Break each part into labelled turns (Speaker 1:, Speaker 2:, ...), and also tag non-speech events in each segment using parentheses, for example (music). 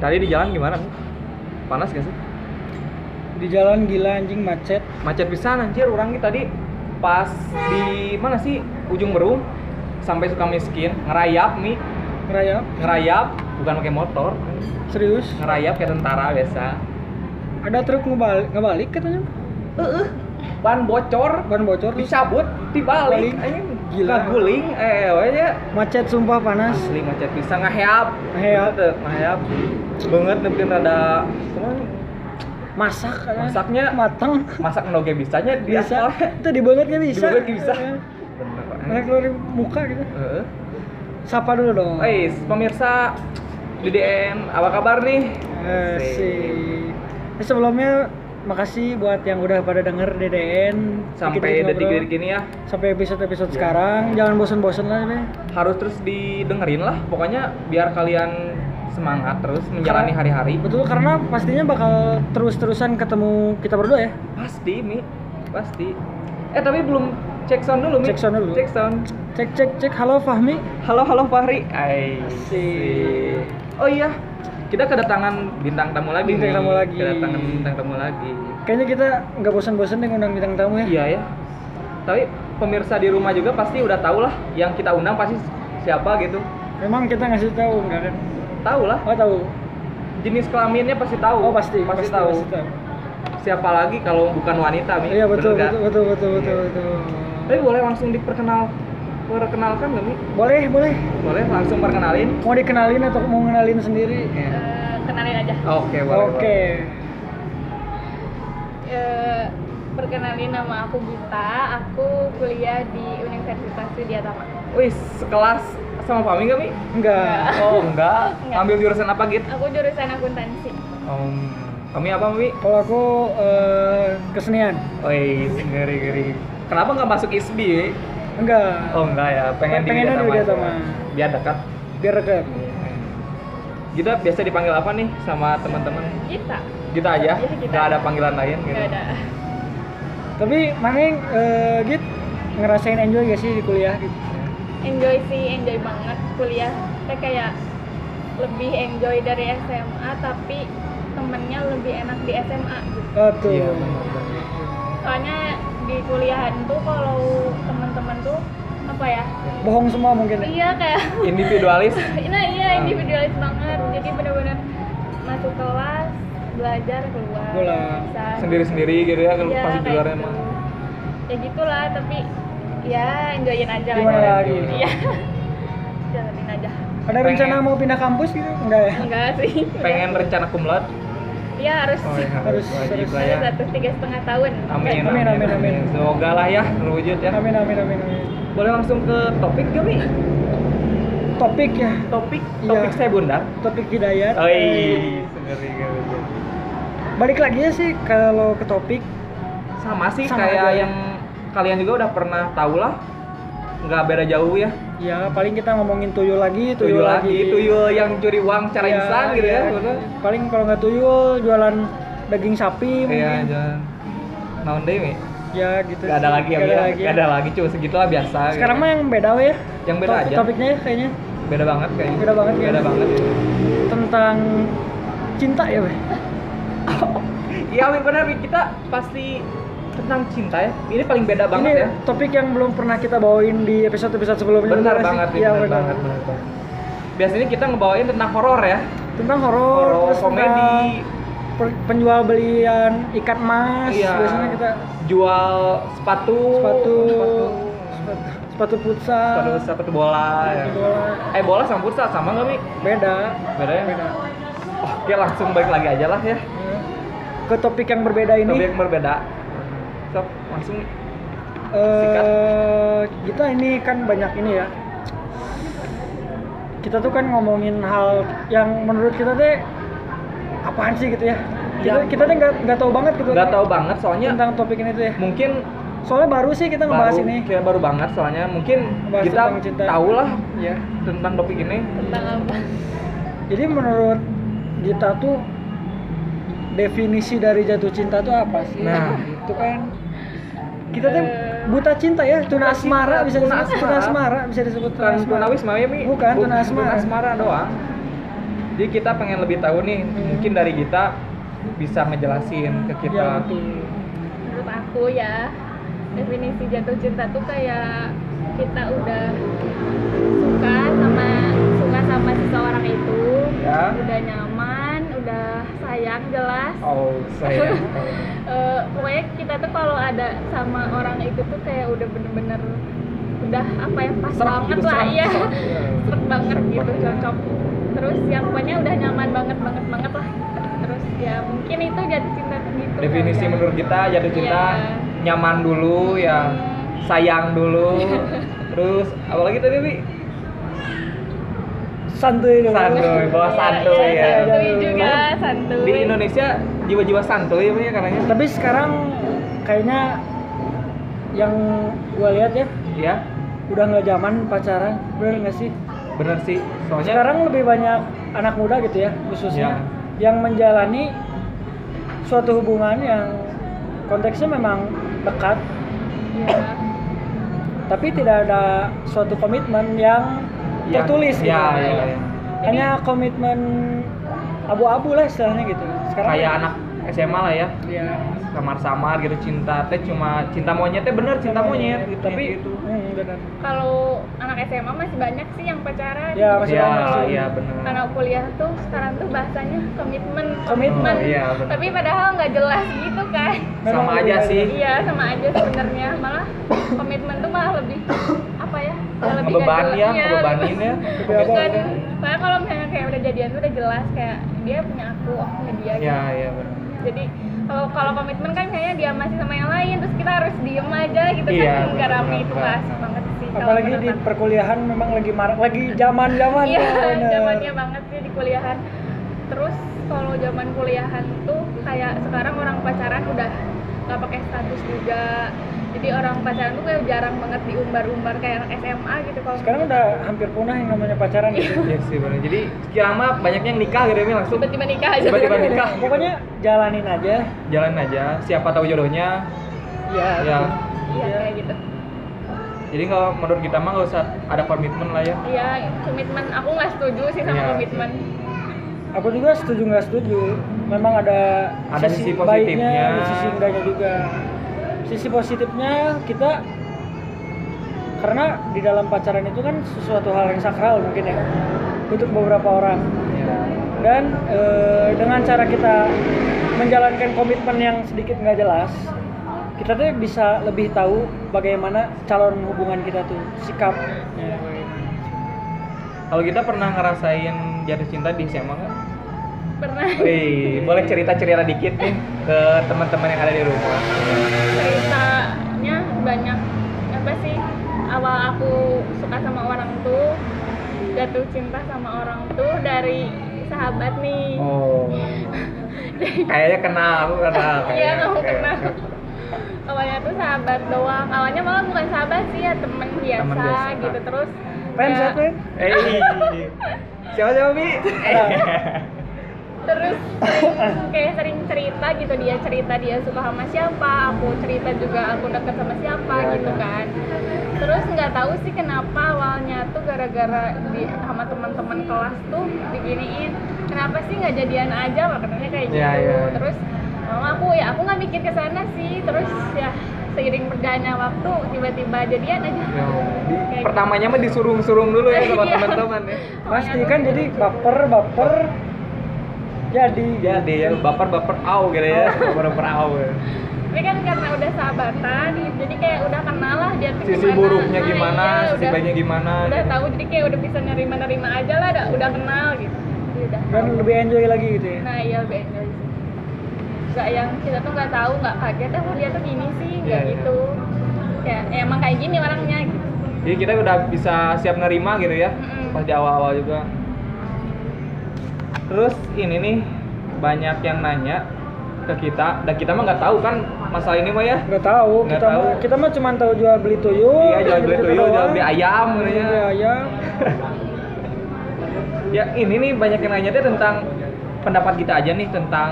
Speaker 1: Tadi di jalan gimana? Bu? Panas gak sih?
Speaker 2: Di jalan gila anjing macet.
Speaker 1: Macet pisan anjir orang ini tadi pas di mana sih ujung berung sampai suka miskin ngerayap mi
Speaker 2: Raya,
Speaker 1: ngerayap bukan pakai motor
Speaker 2: serius.
Speaker 1: ngerayap kayak tentara biasa
Speaker 2: Ada truk ngebalik, ngebalik katanya.
Speaker 1: eh eh, ban bocor
Speaker 2: Ban bocor terus
Speaker 1: dicabut dibalik
Speaker 2: Balik.
Speaker 1: anjing
Speaker 2: Gila.
Speaker 1: guling eh wanya
Speaker 2: macet sumpah panas.
Speaker 1: asli macet pisan eh, ngaheap
Speaker 2: Ngaheap.
Speaker 1: Bener, ngaheap banget nepi rada kumaha,
Speaker 2: Masak katanya.
Speaker 1: Masaknya
Speaker 2: matang.
Speaker 1: masak noge bisanya di
Speaker 2: Bisa.
Speaker 1: aspal
Speaker 2: Itu dibangetnya bisa.
Speaker 1: Dibanget Ya, nggak bisa.
Speaker 2: Iya.
Speaker 1: bener
Speaker 2: Mereka keluar dari muka gitu.
Speaker 1: Heeh.
Speaker 2: Sapa dulu dong.
Speaker 1: Guys, Eh, pemirsa BDN, apa kabar nih?
Speaker 2: Eh,
Speaker 1: Asik.
Speaker 2: sih. Nah, sebelumnya makasih buat yang udah pada denger DDN
Speaker 1: Sampai
Speaker 2: Dikit-dikit
Speaker 1: detik-detik
Speaker 2: ngobrol.
Speaker 1: ini ya,
Speaker 2: sampai episode-episode
Speaker 1: Iya.
Speaker 2: sekarang. Jangan bosen-bosen lah deh.
Speaker 1: harus terus didengerin lah. Pokoknya biar kalian semangat terus menjalani hari-hari.
Speaker 2: Betul karena pastinya bakal terus-terusan ketemu kita berdua ya.
Speaker 1: Pasti, Mi. Pasti. Eh, tapi belum cek sound dulu, Mi.
Speaker 2: Cek sound dulu.
Speaker 1: Cek sound.
Speaker 2: Cek cek cek halo Fahmi.
Speaker 1: Halo, halo Fahri. Ay.
Speaker 2: Asik.
Speaker 1: Oh iya, kita kedatangan bintang tamu lagi
Speaker 2: Bintang
Speaker 1: nih.
Speaker 2: tamu lagi.
Speaker 1: Kedatangan bintang tamu lagi.
Speaker 2: Kayaknya kita nggak bosen-bosen nih ngundang bintang tamu ya.
Speaker 1: Iya ya. Tapi pemirsa di rumah juga pasti udah tahu lah yang kita undang pasti siapa gitu.
Speaker 2: Memang kita ngasih tahu enggak kan?
Speaker 1: Tahu lah.
Speaker 2: Oh tahu.
Speaker 1: Jenis kelaminnya pasti tahu.
Speaker 2: Oh pasti
Speaker 1: Pasti, tahu. Siapa lagi kalau bukan wanita Mi?
Speaker 2: Iya betul,
Speaker 1: Bener nggak?
Speaker 2: betul betul betul betul
Speaker 1: Iya.
Speaker 2: betul.
Speaker 1: Tapi boleh langsung diperkenal perkenalkan nggak Mi?
Speaker 2: Boleh boleh.
Speaker 1: Boleh langsung perkenalin.
Speaker 2: Mau dikenalin atau mau ngenalin sendiri?
Speaker 1: Iya.
Speaker 3: Eh, kenalin aja.
Speaker 1: Oke, boleh.
Speaker 2: Oke.
Speaker 1: boleh.
Speaker 3: Eh, perkenalin nama aku Gita, aku kuliah di Universitas Widyatama.
Speaker 1: Wih, sekelas sama Fami nggak Mi?
Speaker 2: Enggak.
Speaker 1: Oh, enggak.
Speaker 3: Nggak.
Speaker 1: Ambil jurusan apa gitu?
Speaker 3: Aku jurusan akuntansi.
Speaker 1: Um, kami apa Mi?
Speaker 2: Kalau aku eh, kesenian.
Speaker 1: Wih, ngeri ngeri. Kenapa nggak masuk ISBI? Mi?
Speaker 2: Enggak.
Speaker 1: Oh enggak ya, pengen di
Speaker 2: Pengennya di
Speaker 1: Widyatama
Speaker 2: Widyatama.
Speaker 1: aja. Biar dekat.
Speaker 2: Biar dekat.
Speaker 1: Kita biasa dipanggil apa nih sama teman-teman?
Speaker 3: Gita,
Speaker 1: Kita aja.
Speaker 3: Iya, kita.
Speaker 1: Nggak ada panggilan lain gitu.
Speaker 3: Gitu. nggak ada.
Speaker 2: Tapi maning eh, git ngerasain enjoy gak sih di kuliah gitu?
Speaker 3: Enjoy sih, enjoy banget kuliah. Kita kayak lebih enjoy dari SMA, tapi temennya lebih enak di SMA. gitu.
Speaker 2: Oh, tuh.
Speaker 1: Iya, benar-benar.
Speaker 3: Soalnya di kuliahan tuh kalau temen-temen tuh apa ya?
Speaker 2: Bohong semua mungkin. ya?
Speaker 3: Iya kayak
Speaker 1: Individualis.
Speaker 3: Nah iya individualis banget, jadi benar-benar masuk kelas, belajar, keluar
Speaker 2: Pulang.
Speaker 3: Bisa.
Speaker 1: sendiri-sendiri gitu ya kalau
Speaker 3: Iya,
Speaker 1: pas di
Speaker 3: kayak
Speaker 1: luar
Speaker 3: gitu.
Speaker 1: emang.
Speaker 3: Ya gitulah, tapi ya enjoyin aja
Speaker 2: Gimana
Speaker 3: lah,
Speaker 2: lagi?
Speaker 3: Iya (laughs) Jalanin aja
Speaker 2: Ada
Speaker 1: Pengen.
Speaker 2: rencana mau pindah kampus gitu? Enggak ya?
Speaker 3: Enggak sih
Speaker 1: Pengen rencana kumlat.
Speaker 3: Iya harus
Speaker 1: Oh, iya,
Speaker 2: Harus-
Speaker 1: wajib
Speaker 2: harus-
Speaker 1: lah ya.
Speaker 3: harus satu tiga setengah tahun
Speaker 1: Amin,
Speaker 2: Amin, amin, amin.
Speaker 1: Semoga lah ya terwujud ya.
Speaker 2: Amin amin amin amin.
Speaker 1: Boleh langsung ke topik gak Mi?
Speaker 2: Topik ya,
Speaker 1: Topik,
Speaker 2: Iya.
Speaker 1: topik saya bundar.
Speaker 2: topik hidayat.
Speaker 1: Oi, ngeri ngeri.
Speaker 2: Balik lagi ya sih kalau ke topik.
Speaker 1: Sama sih
Speaker 2: Sama
Speaker 1: kayak
Speaker 2: aja.
Speaker 1: yang kalian juga udah pernah tahu lah. Nggak beda jauh ya.
Speaker 2: Ya paling kita ngomongin tuyul lagi,
Speaker 1: tuyul lagi tuyul yang curi uang cara
Speaker 2: Ya,
Speaker 1: instan gitu ya,
Speaker 2: ya.
Speaker 1: bener
Speaker 2: Paling kalau nggak tuyul jualan daging sapi
Speaker 1: iya
Speaker 2: mungkin.
Speaker 1: jangan naon deh mi
Speaker 2: Ya gitu.
Speaker 1: gak ada
Speaker 2: sih.
Speaker 1: lagi ya Mi,
Speaker 2: Nggak ada
Speaker 1: ya.
Speaker 2: lagi.
Speaker 1: Nggak ada lagi cuma segitulah biasa gitu.
Speaker 2: Sekarang mah yang beda we, ya.
Speaker 1: Yang beda
Speaker 2: Top-
Speaker 1: aja.
Speaker 2: Topiknya ya kayaknya
Speaker 1: beda banget kayaknya
Speaker 2: Beda banget ya.
Speaker 1: beda banget
Speaker 2: tentang cinta ya we.
Speaker 1: iya mi benar mi kita pasti tentang cinta ya ini paling beda banget
Speaker 2: Ini
Speaker 1: ya
Speaker 2: topik yang belum pernah kita bawain di episode-episode sebelumnya.
Speaker 1: benar
Speaker 2: nggak sih?
Speaker 1: banget Mi,
Speaker 2: Iya
Speaker 1: benar
Speaker 2: benar.
Speaker 1: banget benar banget biasanya kita ngebawain tentang horor ya
Speaker 2: Tentang horor,
Speaker 1: horor
Speaker 2: terus tentang
Speaker 1: komedi
Speaker 2: per- penjual belian ikat emas
Speaker 1: iya
Speaker 2: biasanya kita
Speaker 1: jual sepatu
Speaker 2: sepatu
Speaker 1: sepatu
Speaker 2: sepatu, sepatu futsal
Speaker 1: sepatu, sepatu bola ya.
Speaker 2: sepatu bola.
Speaker 1: eh bola sama futsal sama nggak mi
Speaker 2: beda
Speaker 1: beda ya
Speaker 2: beda
Speaker 1: Oke langsung balik lagi aja lah ya
Speaker 2: Ya. ke topik yang berbeda ini
Speaker 1: Topik yang berbeda Sob, langsung
Speaker 2: eh,
Speaker 1: sikat.
Speaker 2: kita ini kan banyak ini ya kita tuh kan ngomongin hal yang menurut kita teh apaan sih gitu ya kita,
Speaker 1: Ya.
Speaker 2: kita teh nggak nggak tahu banget gitu
Speaker 1: Nggak tahu banget soalnya
Speaker 2: tentang topik ini tuh ya
Speaker 1: mungkin
Speaker 2: soalnya baru sih kita ngebahas
Speaker 1: baru,
Speaker 2: ini
Speaker 1: kayak baru banget soalnya Mungkin
Speaker 2: Ngebahas
Speaker 1: kita
Speaker 2: tentang cinta.
Speaker 1: tahu lah
Speaker 2: ya
Speaker 1: tentang topik ini
Speaker 3: Tentang apa?
Speaker 2: Jadi menurut Gita tuh definisi dari jatuh cinta tuh apa sih?
Speaker 1: Nah.
Speaker 2: (laughs) itu kan kita tuh
Speaker 3: Eh,
Speaker 2: buta cinta ya, tuna
Speaker 1: buta
Speaker 2: asmara
Speaker 1: cinta,
Speaker 2: bisa
Speaker 1: tuna
Speaker 2: disebut tuna
Speaker 1: asmara. Kan
Speaker 2: asmara Ya. bisa disebut tuna
Speaker 1: Bukan
Speaker 2: asmara.
Speaker 1: tunawis Mami Mi
Speaker 2: Bukan,
Speaker 1: Bu-
Speaker 2: tuna asmara.
Speaker 1: asmara doang jadi kita pengen lebih tahu nih mungkin dari kita bisa ngejelasin ke
Speaker 2: Ya,
Speaker 1: kita
Speaker 2: betul.
Speaker 3: menurut aku ya definisi jatuh cinta tuh kayak kita udah suka sama suka sama seseorang itu
Speaker 1: Ya.
Speaker 3: udah nyaman udah sayang jelas
Speaker 1: oh saya
Speaker 3: Eh, pokoknya kita tuh kalau ada sama orang itu tuh kayak udah bener-bener udah apa ya pas
Speaker 1: Serak
Speaker 3: banget
Speaker 1: gitu,
Speaker 3: lah
Speaker 1: serak,
Speaker 3: ya
Speaker 1: serak.
Speaker 3: serak banget
Speaker 1: Serak
Speaker 3: gitu
Speaker 1: banget.
Speaker 3: cocok terus yang pokoknya udah nyaman banget banget banget lah terus ya mungkin itu jatuh cinta tuh gitu
Speaker 1: definisi
Speaker 3: kali ya.
Speaker 1: menurut kita jatuh cinta
Speaker 3: Iya.
Speaker 1: nyaman dulu ya sayang
Speaker 2: (laughs)
Speaker 1: dulu terus apalagi tadi Wi?
Speaker 2: santuy dong
Speaker 1: Santuy, bawa
Speaker 3: Iya,
Speaker 1: Oh, santuy
Speaker 3: iya,
Speaker 1: ya.
Speaker 3: santuy juga santuy
Speaker 1: di Indonesia jiwa-jiwa santuy apa ya katanya
Speaker 2: tapi sekarang kayaknya yang gua lihat ya
Speaker 1: ya
Speaker 2: udah nggak zaman pacaran bener nggak sih
Speaker 1: bener sih soalnya
Speaker 2: sekarang lebih banyak anak muda gitu ya khususnya
Speaker 1: Ya.
Speaker 2: yang menjalani suatu hubungan yang konteksnya memang dekat
Speaker 3: Iya.
Speaker 2: tapi tidak ada suatu komitmen yang
Speaker 1: yang-
Speaker 2: tertulis gitu.
Speaker 1: ya, ya, ya.
Speaker 2: hanya komitmen abu-abu lah istilahnya gitu sekarang
Speaker 1: kayak anak SMA lah ya
Speaker 2: Iya.
Speaker 1: samar-samar gitu cinta teh cuma cinta monyet teh bener cinta monyet gitu
Speaker 2: tapi
Speaker 1: gitu.
Speaker 2: hmm, benar.
Speaker 3: kalau anak SMA masih banyak sih yang pacaran
Speaker 2: Ya, masih
Speaker 1: Iya,
Speaker 2: banyak sih.
Speaker 1: iya bener
Speaker 3: karena kuliah tuh sekarang tuh bahasanya komitmen
Speaker 2: Komitmen.
Speaker 1: Oh, iya, benar.
Speaker 3: tapi padahal nggak jelas gitu kan
Speaker 2: Memang
Speaker 1: sama aja
Speaker 2: berbeda.
Speaker 1: sih
Speaker 3: iya sama aja sebenarnya malah komitmen tuh malah lebih apa ya ya lebih nggak
Speaker 1: ngebeban ya
Speaker 3: jelas. Iya,
Speaker 1: ngebebanin ya
Speaker 2: Lebih apa?
Speaker 3: bukan karena kalau misalnya kayak udah jadian tuh udah jelas kayak dia punya aku aku punya dia gitu.
Speaker 1: ya ya bener
Speaker 3: jadi kalau kalau komitmen kan kayaknya dia masih sama yang lain terus kita harus diem aja gitu
Speaker 1: Iya,
Speaker 3: kan nggak rame
Speaker 1: benar,
Speaker 3: itu
Speaker 1: benar.
Speaker 3: asik banget sih kalau
Speaker 2: apalagi
Speaker 3: menurut
Speaker 2: di
Speaker 3: aku.
Speaker 2: perkuliahan memang lagi marak lagi zaman zaman
Speaker 3: Iya, (laughs) zamannya banget sih di kuliahan. Terus kalau zaman kuliahan tuh kayak sekarang orang pacaran udah nggak pakai status juga. Jadi orang pacaran tuh kayak jarang banget diumbar-umbar kayak anak SMA gitu kalau
Speaker 2: sekarang udah hampir punah yang namanya pacaran
Speaker 3: (laughs)
Speaker 2: gitu
Speaker 1: Iya sih bener jadi sekarang mah banyak yang nikah gitu ya langsung
Speaker 3: tiba-tiba nikah aja.
Speaker 1: tiba-tiba nikah
Speaker 2: pokoknya jalanin aja
Speaker 1: jalan aja siapa tahu jodohnya
Speaker 2: ya,
Speaker 1: ya
Speaker 3: Iya kayak gitu.
Speaker 1: jadi kalau menurut kita mah nggak usah ada komitmen lah ya
Speaker 3: Iya, komitmen aku nggak setuju sih sama
Speaker 1: Iya.
Speaker 3: komitmen.
Speaker 2: aku juga setuju nggak setuju memang ada
Speaker 1: Ada sisi positifnya.
Speaker 2: baiknya, ada sisi enggaknya juga sisi positifnya kita karena di dalam pacaran itu kan sesuatu hal yang sakral mungkin ya untuk beberapa orang
Speaker 1: Iya.
Speaker 2: dan eh, dengan cara kita menjalankan komitmen yang sedikit nggak jelas kita tuh bisa lebih tahu bagaimana calon hubungan kita tuh sikap
Speaker 1: kalau kita pernah ngerasain jatuh cinta di SMA nggak?
Speaker 3: Pernah
Speaker 1: Wih, boleh cerita-cerita dikit nih ke teman-teman yang ada di rumah.
Speaker 3: ceritanya banyak apa sih awal aku suka sama orang tuh jatuh cinta sama orang tuh dari sahabat nih
Speaker 1: Oh. Kayaknya kenal, aku kenal.
Speaker 3: Iya,
Speaker 1: kayaknya.
Speaker 3: kamu
Speaker 1: Kayak-
Speaker 3: kenal. awalnya tuh sahabat doang awalnya malah bukan sahabat sih ya temen biasa,
Speaker 1: Temen biasa.
Speaker 3: gitu terus
Speaker 2: pen
Speaker 3: kayak-
Speaker 1: (laughs)
Speaker 2: siapa ya?
Speaker 1: Eh, siapa siapa bi?
Speaker 2: Nah.
Speaker 3: terus
Speaker 1: (laughs)
Speaker 3: sering, kayak sering cerita gitu dia cerita dia suka sama siapa aku cerita juga aku deket sama siapa
Speaker 1: Iya,
Speaker 3: gitu
Speaker 1: iya.
Speaker 3: kan terus nggak tahu sih kenapa awalnya tuh gara-gara di sama teman-teman kelas tuh diginiin kenapa sih nggak jadian aja lah katanya kayak gitu
Speaker 1: Iya, iya.
Speaker 3: terus mama aku ya aku nggak mikir ke sana sih terus ya seiring berjalannya waktu tiba-tiba jadian aja
Speaker 1: Ya, di- Pertamanya mah disuruh-suruh dulu ya sama
Speaker 3: Iya.
Speaker 1: teman-teman ya.
Speaker 2: pasti kan jadi baper baper jadi
Speaker 1: Jadi ya baper-baper au gitu
Speaker 3: Oh.
Speaker 1: ya, baper-baper au. ya.
Speaker 3: tapi kan karena udah sahabatan jadi kayak udah kenal lah dia tuh
Speaker 1: Sisi buruknya
Speaker 3: Nah,
Speaker 1: gimana,
Speaker 3: iya,
Speaker 1: sisi
Speaker 3: udah-
Speaker 1: baiknya gimana.
Speaker 3: udah
Speaker 1: gitu.
Speaker 3: tahu jadi kayak udah bisa nerima nerima aja lah udah, udah kenal gitu Jadi
Speaker 1: Iya.
Speaker 3: udah
Speaker 2: dan Kan lebih enjoy lagi gitu ya
Speaker 3: nah iya lebih enjoy sih nggak yang kita tuh nggak tahu nggak kaget eh oh, dia tuh gini sih nggak
Speaker 1: Iya, iya.
Speaker 3: gitu ya emang kayak gini orangnya gitu
Speaker 1: Jadi kita udah bisa siap nerima gitu ya,
Speaker 3: Mm-mm.
Speaker 1: pas di awal-awal juga. Terus ini nih banyak yang nanya ke kita, dan kita mah nggak tahu kan masalah ini mah ya.
Speaker 2: nggak tahu
Speaker 1: Nggak
Speaker 2: kita
Speaker 1: tahu.
Speaker 2: mah kita mah cuma tahu jual beli tuyul
Speaker 3: Oh,
Speaker 1: Iya jual
Speaker 2: gitu
Speaker 1: beli
Speaker 2: gitu
Speaker 1: tuyul, jual
Speaker 2: doang.
Speaker 1: beli ayam gitu
Speaker 2: Jual
Speaker 1: ya.
Speaker 3: Iya.
Speaker 2: beli ayam
Speaker 1: Ya ini nih banyak yang nanya deh tentang pendapat kita aja nih tentang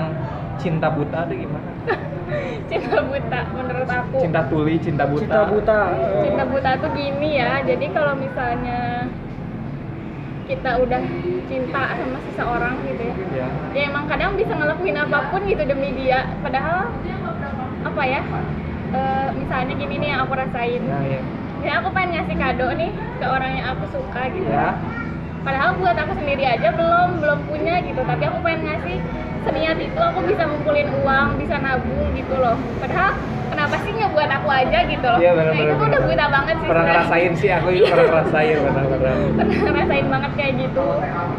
Speaker 1: cinta buta tuh gimana?
Speaker 3: cinta buta menurut aku
Speaker 1: Cinta tuli, cinta buta.
Speaker 2: cinta buta
Speaker 3: cinta buta tuh gini ya jadi kalau misalnya kita udah cinta sama seseorang gitu ya
Speaker 1: ya
Speaker 3: ya emang kadang bisa ngelakuin apapun gitu demi dia padahal apa ya eh, misalnya gini nih yang aku rasain
Speaker 1: ya ya
Speaker 3: ya aku pengen ngasih kado nih ke orang yang aku suka gitu
Speaker 1: ya
Speaker 3: padahal buat aku sendiri aja belum belum punya gitu tapi aku pengen ngasih seniat itu aku bisa ngumpulin uang bisa nabung gitu loh padahal kenapa sih nggak buat aku aja gitu loh
Speaker 1: Iya, benar,
Speaker 3: nah itu
Speaker 1: benar,
Speaker 3: tuh udah
Speaker 1: benar.
Speaker 3: buta banget
Speaker 1: pernah
Speaker 3: sih sebenarnya.
Speaker 1: ngerasain sih aku juga pernah ngerasain benar-benar
Speaker 3: pernah (laughs) ngerasain banget kayak gitu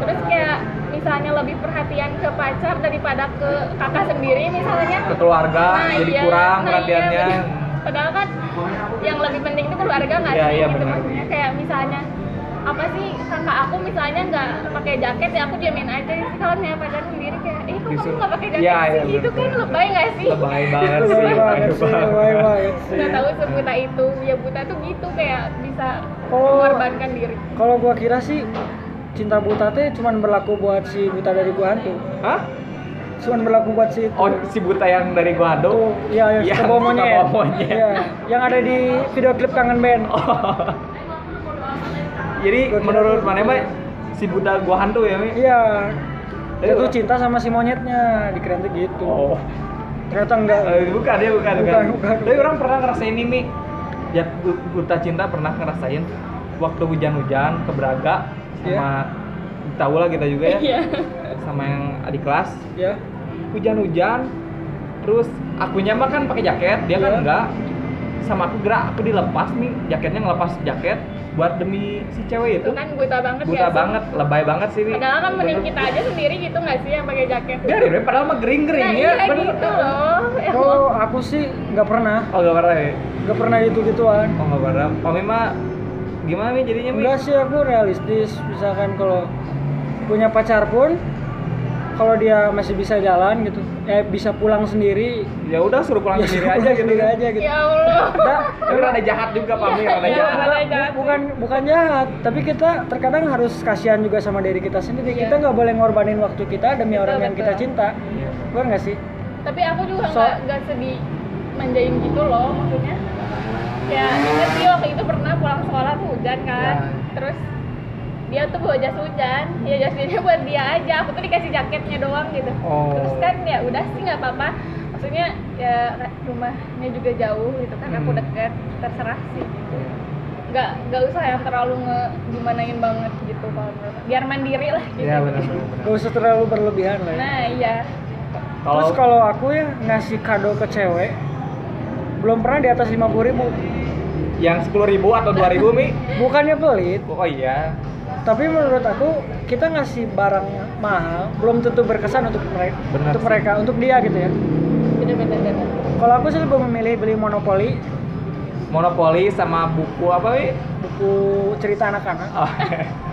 Speaker 3: terus kayak misalnya lebih perhatian ke pacar daripada ke kakak sendiri misalnya
Speaker 1: ke keluarga
Speaker 3: Nah,
Speaker 1: Ah, jadi
Speaker 3: iya,
Speaker 1: kurang
Speaker 3: nah,
Speaker 1: perhatiannya
Speaker 3: iya, bener. Padahal kan yang lebih penting itu keluarga nggak
Speaker 1: Iya,
Speaker 3: sih?
Speaker 1: iya,
Speaker 3: gitu
Speaker 1: benar.
Speaker 3: maksudnya kayak misalnya apa sih kakak aku misalnya nggak pakai jaket ya aku diamin aja Tapi kalau punya pacar sendiri kayak eh kok kamu
Speaker 1: Disuruh.
Speaker 3: nggak pakai jaket
Speaker 1: Iya,
Speaker 3: sih
Speaker 1: iya,
Speaker 3: gitu kan
Speaker 1: benar.
Speaker 3: lebay nggak sih
Speaker 1: lebay banget sih
Speaker 2: Lebay
Speaker 1: lebay
Speaker 2: banget sih, lebay
Speaker 1: banget
Speaker 2: banget sih.
Speaker 3: nggak tahu sebuta itu ya buta tuh gitu kayak bisa
Speaker 2: Oh.
Speaker 3: mengorbankan diri
Speaker 2: Kalau gua kira sih cinta buta teh cuman berlaku buat si buta dari gua hantu.
Speaker 1: Hah?
Speaker 2: Cuman berlaku buat si itu.
Speaker 1: Oh, si buta yang dari gua
Speaker 2: Tuh,
Speaker 1: dong.
Speaker 2: iya yang
Speaker 1: Yang
Speaker 2: suka bawa
Speaker 1: suka
Speaker 2: monyet.
Speaker 1: bawa monyet.
Speaker 2: Iya, yang ada di video klip Kangen Band.
Speaker 1: Jadi
Speaker 2: Gua kira
Speaker 1: menurut
Speaker 2: tuh-
Speaker 1: mana Mbak? Si buta gua hantu ya, Mi?
Speaker 2: Iya. Dia
Speaker 1: Eh,
Speaker 2: tuh
Speaker 1: wah.
Speaker 2: cinta sama si monyetnya, dikira tuh gitu.
Speaker 1: Oh.
Speaker 2: Ternyata enggak.
Speaker 1: Eh, bukan ya, bukan, bukan.
Speaker 2: Bukan, bukan.
Speaker 1: Tapi orang pernah ngerasain ini, Mi. Ya, bu- buta cinta pernah ngerasain waktu hujan-hujan ke Braga
Speaker 2: Iya.
Speaker 1: sama tahu lah kita juga ya
Speaker 3: iya
Speaker 1: sama yang adik kelas
Speaker 2: Ya.
Speaker 1: hujan-hujan terus akunya mah kan pakai jaket dia kan
Speaker 2: Iya.
Speaker 1: enggak sama aku gerak aku dilepas nih jaketnya ngelepas jaket buat demi si cewek itu
Speaker 3: itu kan buta banget
Speaker 1: buta
Speaker 3: nggak sih?
Speaker 1: banget lebay banget sih Mi.
Speaker 3: padahal kan mending kita aja sendiri gitu nggak sih yang pakai jaket
Speaker 1: dari Mi, padahal mah gering gering
Speaker 3: nah,
Speaker 1: ya
Speaker 3: iya
Speaker 1: bener.
Speaker 3: gitu loh
Speaker 2: Kalau aku sih nggak pernah,
Speaker 1: oh nggak pernah Mi?
Speaker 2: nggak pernah gitu-gituan.
Speaker 1: oh nggak pernah Pami mah gimana mi jadinya mi
Speaker 2: Enggak sih aku realistis misalkan kalau punya pacar pun kalau dia masih bisa jalan gitu eh bisa pulang sendiri
Speaker 1: ya udah suruh pulang
Speaker 2: ya
Speaker 1: sendiri
Speaker 2: suruh
Speaker 1: aja
Speaker 2: pulang
Speaker 1: gitu
Speaker 2: sendiri
Speaker 1: kan
Speaker 2: aja gitu
Speaker 3: (laughs) ya Allah
Speaker 2: Enggak,
Speaker 1: tapi ada jahat juga
Speaker 3: (laughs)
Speaker 1: Pami ada
Speaker 3: Iya,
Speaker 1: jahat
Speaker 3: ada jahat.
Speaker 2: bukan bukan jahat tapi kita terkadang harus kasihan juga sama diri kita sendiri
Speaker 3: Iya.
Speaker 2: kita nggak boleh ngorbanin waktu kita demi
Speaker 3: Betul,
Speaker 2: orang yang
Speaker 3: betul.
Speaker 2: kita cinta benar nggak sih
Speaker 3: tapi aku juga
Speaker 2: So-
Speaker 3: nggak nggak sedih manjain gitu loh maksudnya ya inget sih waktu itu pernah pulang sekolah tuh hujan kan
Speaker 1: Ya.
Speaker 3: terus dia tuh bawa jas hujan ya jas hujannya buat dia aja aku tuh dikasih jaketnya doang gitu
Speaker 1: Oh.
Speaker 3: terus kan ya udah sih nggak apa-apa maksudnya ya rumahnya juga jauh gitu kan aku
Speaker 1: Hmm.
Speaker 3: deket terserah sih nggak nggak usah yang terlalu nge gimanain banget gitu kalau menurut aku. biar mandiri lah gitu
Speaker 1: Iya benar benar.
Speaker 2: nggak usah terlalu berlebihan lah ya.
Speaker 3: nah iya
Speaker 1: Kalau
Speaker 2: terus kalau aku ya ngasih kado ke cewek belum pernah di atas 50.000 ribu
Speaker 1: yang sepuluh ribu atau dua ribu
Speaker 3: (laughs)
Speaker 1: mi?
Speaker 2: bukannya pelit
Speaker 1: Oh iya.
Speaker 2: tapi menurut aku kita ngasih barang mahal belum tentu berkesan untuk mereka
Speaker 1: Benar
Speaker 2: untuk
Speaker 1: sih.
Speaker 2: mereka untuk dia gitu ya
Speaker 3: bener-bener
Speaker 2: kalau aku sih lebih memilih beli monopoli
Speaker 1: Monopoli sama buku apa mi?
Speaker 2: buku cerita anak-anak
Speaker 1: (laughs) Oh,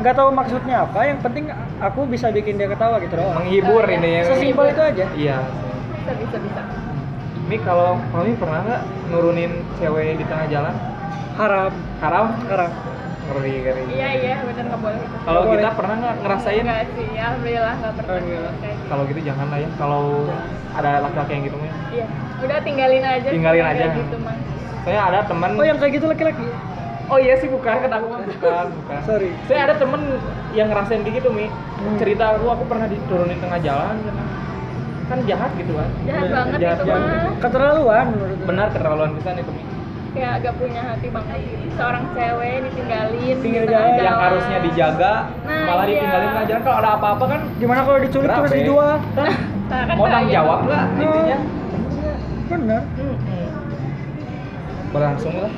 Speaker 2: nggak tahu maksudnya apa yang penting aku bisa bikin dia ketawa gitu doang
Speaker 1: menghibur
Speaker 3: Oh, iya.
Speaker 1: ini ya. Mi.
Speaker 2: sesimpel itu aja
Speaker 1: Iya.
Speaker 3: bisa bisa bisa
Speaker 1: Mi kalau Mami pernah nggak nurunin cewek di tengah jalan?
Speaker 2: harap
Speaker 1: Haram?
Speaker 2: harap
Speaker 1: Ngeri ngeri.
Speaker 3: iya iya bener nggak boleh gitu.
Speaker 1: Kalau
Speaker 2: Nggak
Speaker 1: kita
Speaker 2: boleh.
Speaker 1: pernah nggak ngerasain?
Speaker 3: Enggak sih, ya, alhamdulillah nggak pernah.
Speaker 2: Alhamdulillah.
Speaker 3: Kayak gitu.
Speaker 1: Kalau gitu jangan lah ya. Kalau ada laki-laki yang gitu Mi.
Speaker 3: Iya, udah tinggalin aja. sih,
Speaker 1: Tinggalin aja.
Speaker 3: kayak gitu mah.
Speaker 1: Saya ada teman.
Speaker 2: oh yang kayak gitu laki-laki
Speaker 1: Oh iya sih bukan kata aku mah. bukan (laughs) bukan.
Speaker 2: sorry
Speaker 1: Saya ada temen yang ngerasain kayak gitu mi.
Speaker 2: Hmm.
Speaker 1: Cerita aku aku pernah diturunin tengah jalan kan. kan jahat gitu kan.
Speaker 3: Jahat
Speaker 2: Iya,
Speaker 3: banget
Speaker 1: jahat,
Speaker 3: itu
Speaker 1: jahat.
Speaker 3: mah.
Speaker 2: keterlaluan menurut aku.
Speaker 1: Benar keterlaluan pisan itu mi.
Speaker 3: Kayak agak punya hati banget gitu. Seorang cewek ditinggalin di
Speaker 2: Pinggir
Speaker 3: tengah
Speaker 2: jalan.
Speaker 1: Yang harusnya dijaga
Speaker 3: Nah,
Speaker 1: malah
Speaker 3: iya.
Speaker 1: ditinggalin tengah jalan kalau ada apa-apa kan
Speaker 2: gimana kalau diculik
Speaker 1: Berapa
Speaker 2: terus
Speaker 1: ya?
Speaker 2: dijual Hah?
Speaker 3: Nah, kan Hmm.
Speaker 1: mau tanggung
Speaker 3: bahaya.
Speaker 1: jawab nggak intinya?
Speaker 2: bener
Speaker 3: Hmm.
Speaker 1: Berlangsung lah.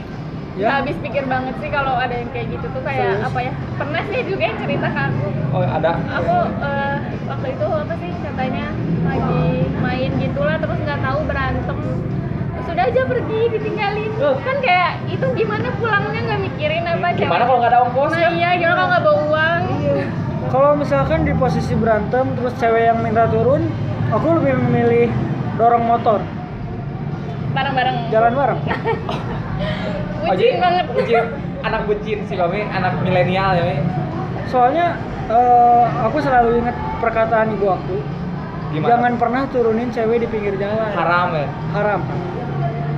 Speaker 3: Nggak
Speaker 2: ya
Speaker 3: habis pikir banget sih kalau ada yang kayak gitu tuh kayak
Speaker 2: Serius.
Speaker 3: apa ya? Pernah sih juga yang cerita ke aku.
Speaker 1: Oh ada.
Speaker 3: Aku eh, waktu itu apa sih katanya lagi main gitulah terus nggak tahu berantem terus udah aja pergi ditinggalin
Speaker 1: Loh.
Speaker 3: kan kayak itu gimana pulangnya nggak mikirin apa
Speaker 1: Gimana
Speaker 3: cewek?
Speaker 1: kalau kan? nggak ada
Speaker 3: Nah
Speaker 1: ongkosnya?
Speaker 3: iya, gimana kalau nggak bawa uang?
Speaker 2: kalau misalkan di posisi berantem terus cewek yang minta turun aku lebih memilih dorong motor
Speaker 3: Bareng-bareng.
Speaker 2: jalan bareng
Speaker 3: Bucin banget. (laughs)
Speaker 1: Bucin. Anak bucin sih kami, anak milenial ya mi.
Speaker 2: soalnya eh, aku selalu ingat perkataan ibu aku
Speaker 1: Gimana?
Speaker 2: jangan pernah turunin cewek di pinggir jalan
Speaker 1: haram ya.
Speaker 2: haram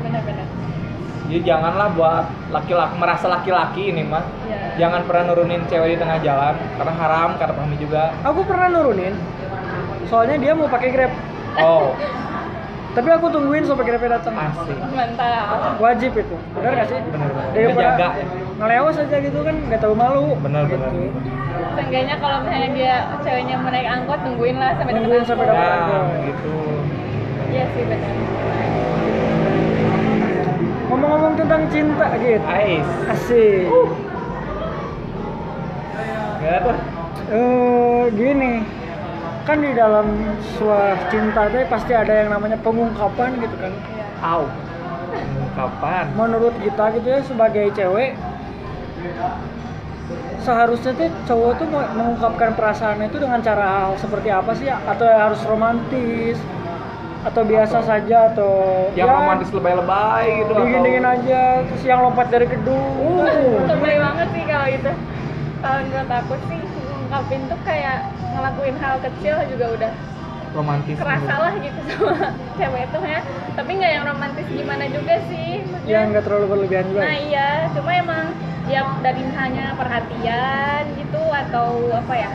Speaker 3: Benar-benar.
Speaker 1: Jadi janganlah buat laki-laki merasa laki-laki ini mah.
Speaker 3: Iya.
Speaker 1: Jangan pernah nurunin cewek di tengah jalan karena haram kata Fahmi juga.
Speaker 2: Aku pernah nurunin. Soalnya dia mau pakai Grab.
Speaker 3: (laughs)
Speaker 1: Oh,
Speaker 2: Tapi aku tungguin sampai Grabnya datang.
Speaker 1: asik.
Speaker 3: mantap
Speaker 2: Wajib itu. Benar gak sih?
Speaker 1: Bener bener.
Speaker 2: Daripada-
Speaker 1: Dijaga ya.
Speaker 2: Ngelewas aja gitu kan nggak tahu malu.
Speaker 1: Benar,
Speaker 2: gitu.
Speaker 1: benar.
Speaker 3: seenggaknya kalau misalnya dia ceweknya mau naik angkot nungguin lah sampai deket
Speaker 2: Nungguin sampai
Speaker 3: angkot.
Speaker 2: dapet.
Speaker 1: Nah, gitu.
Speaker 3: iya sih benar
Speaker 2: Ngomong-ngomong tentang cinta gitu.
Speaker 1: Ais.
Speaker 2: Asik.
Speaker 1: Ya tuh.
Speaker 2: Eh, gini kan di dalam sebuah cinta teh pasti ada yang namanya pengungkapan gitu kan
Speaker 3: Iya.
Speaker 1: Au. Kapan?
Speaker 2: menurut kita gitu ya sebagai cewek seharusnya tuh cowok tuh mau- mengungkapkan perasaannya itu dengan cara hal seperti apa sih atau harus romantis atau biasa saja atau
Speaker 1: Yang romantis lebay-lebay gitu atau-
Speaker 2: dingin dingin Ya. aja terus yang lompat dari gedung
Speaker 1: Uh.
Speaker 2: Hmm.
Speaker 3: Sebel banget sih kalau itu. Kalau menurut aku sih ngungkapin tuh kayak ngelakuin hal kecil juga udah
Speaker 1: romantis.
Speaker 3: kerasa lah gitu sama (laughs) cewek itu ya. Tapi nggak yang romantis gimana juga sih. Maksudnya-
Speaker 2: yang Ya, nggak terlalu berlebihan juga
Speaker 3: Nah iya, cuma emang ya dari misalnya perhatian gitu atau apa ya?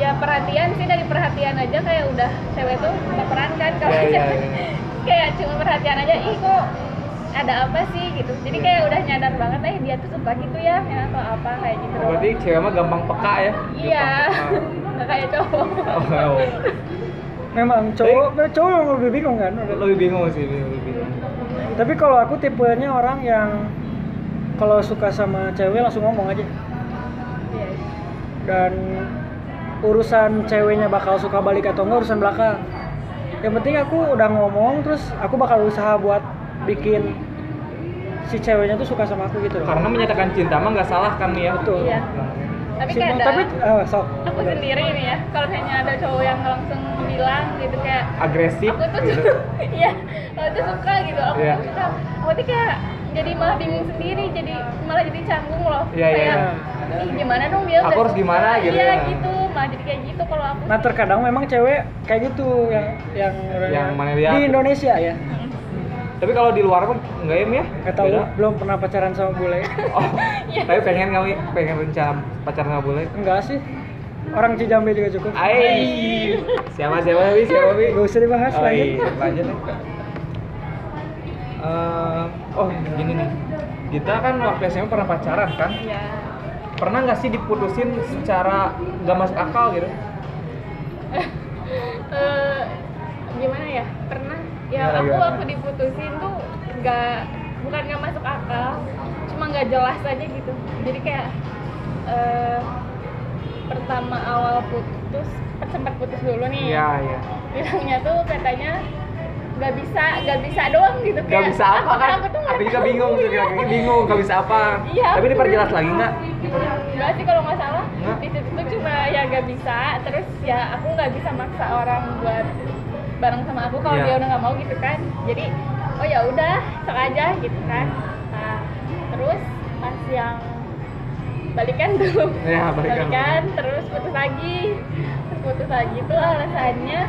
Speaker 3: Ya perhatian sih dari perhatian aja kayak udah cewek tuh baperan kan kalau
Speaker 1: Iya, iya,
Speaker 3: cewek.
Speaker 1: iya.
Speaker 3: (laughs) kayak cuma perhatian aja, ih kok ada apa sih gitu. Jadi
Speaker 1: Iya.
Speaker 3: kayak udah nyadar banget eh dia tuh suka gitu ya, ya atau apa kayak gitu. doang.
Speaker 1: Berarti cewek mah gampang peka ya?
Speaker 3: iya.
Speaker 1: Gampang
Speaker 3: Nggak kayak cowok.
Speaker 1: peka. Oh, oh. Eh?
Speaker 2: memang cowok eh, cowok memang lebih bingung kan
Speaker 1: Lebih bingung sih, lebih bingung.
Speaker 2: Tapi kalau aku tipenya orang yang kalau suka sama cewek langsung ngomong aja
Speaker 3: Iya.
Speaker 2: dan urusan ceweknya bakal suka balik atau enggak urusan belakang. Yang penting aku udah ngomong terus aku bakal usaha buat bikin si ceweknya tuh suka sama aku gitu loh.
Speaker 1: Karena menyatakan cinta mah nggak salah kan ya?
Speaker 2: Betul.
Speaker 3: Iya. Tapi
Speaker 2: Tapi
Speaker 3: kayak ada
Speaker 2: tapi eh, sok.
Speaker 3: aku sendiri nih ya, kalau misalnya ada cowok yang langsung bilang gitu kayak
Speaker 1: Agresif.
Speaker 3: aku tuh (laughs)
Speaker 1: gitu.
Speaker 3: iya aku tuh suka gitu aku
Speaker 1: Iya.
Speaker 3: tuh suka aku tuh kayak jadi malah bingung sendiri jadi malah jadi canggung loh
Speaker 1: Iya, iya,
Speaker 3: kayak "Ih, gimana dong dia
Speaker 1: Aku
Speaker 3: udah
Speaker 1: harus
Speaker 3: suka."
Speaker 1: gimana gitu
Speaker 3: iya
Speaker 1: ya.
Speaker 3: gitu malah jadi kayak gitu kalau aku
Speaker 2: Nah terkadang memang cewek kayak gitu yang yang,
Speaker 1: Yang mana lihat.
Speaker 2: di Indonesia ya.
Speaker 1: Tapi kalau di luar pun nggak ya, Im, ya?
Speaker 2: Gak Eh, tahu (laughs)
Speaker 1: Beda?
Speaker 2: belum pernah pacaran sama bule.
Speaker 1: Oh, tapi pengen kami pengen rencana pacaran nggak boleh.
Speaker 2: Enggak sih. Orang Cijambe juga cukup.
Speaker 1: Aiy, siapa siapa wi siapa wi?
Speaker 2: Gak usah dibahas
Speaker 1: Oh,
Speaker 2: lagi.
Speaker 1: iya, lanjut nih. Eh, oh gini nih, kita kan waktu SMA pernah pacaran kan?
Speaker 3: iya
Speaker 1: Pernah nggak sih diputusin secara nggak masuk akal gitu?
Speaker 3: Hmm. Eh, gimana ya pernah ya
Speaker 1: Gimana,
Speaker 3: aku
Speaker 1: gimana?
Speaker 3: aku diputusin tuh nggak bukan nggak masuk akal cuma nggak jelas aja gitu jadi kayak eh, pertama awal putus sempat putus dulu nih
Speaker 1: Iya iya.
Speaker 3: bilangnya tuh katanya nggak bisa nggak bisa doang gitu
Speaker 1: Gak bisa apa kan?
Speaker 3: aku tuh nggak
Speaker 1: Aku juga
Speaker 3: tahu.
Speaker 1: bingung, tuh, kira-kira bingung gak bisa apa.
Speaker 3: Iya,
Speaker 1: Tapi
Speaker 3: aku juga
Speaker 1: diperjelas
Speaker 3: bingung.
Speaker 1: lagi nggak?
Speaker 3: nggak sih kalau nggak salah
Speaker 1: Nggak.
Speaker 3: di situ tuh cuma ya nggak bisa terus ya aku nggak bisa maksa orang buat bareng sama aku kalau
Speaker 1: Iya.
Speaker 3: dia udah nggak mau gitu kan jadi oh ya udah sok aja gitu kan nah terus pas yang balikan tuh
Speaker 1: Ya balikan.
Speaker 3: (laughs) balikan terus putus lagi terus putus lagi tuh alasannya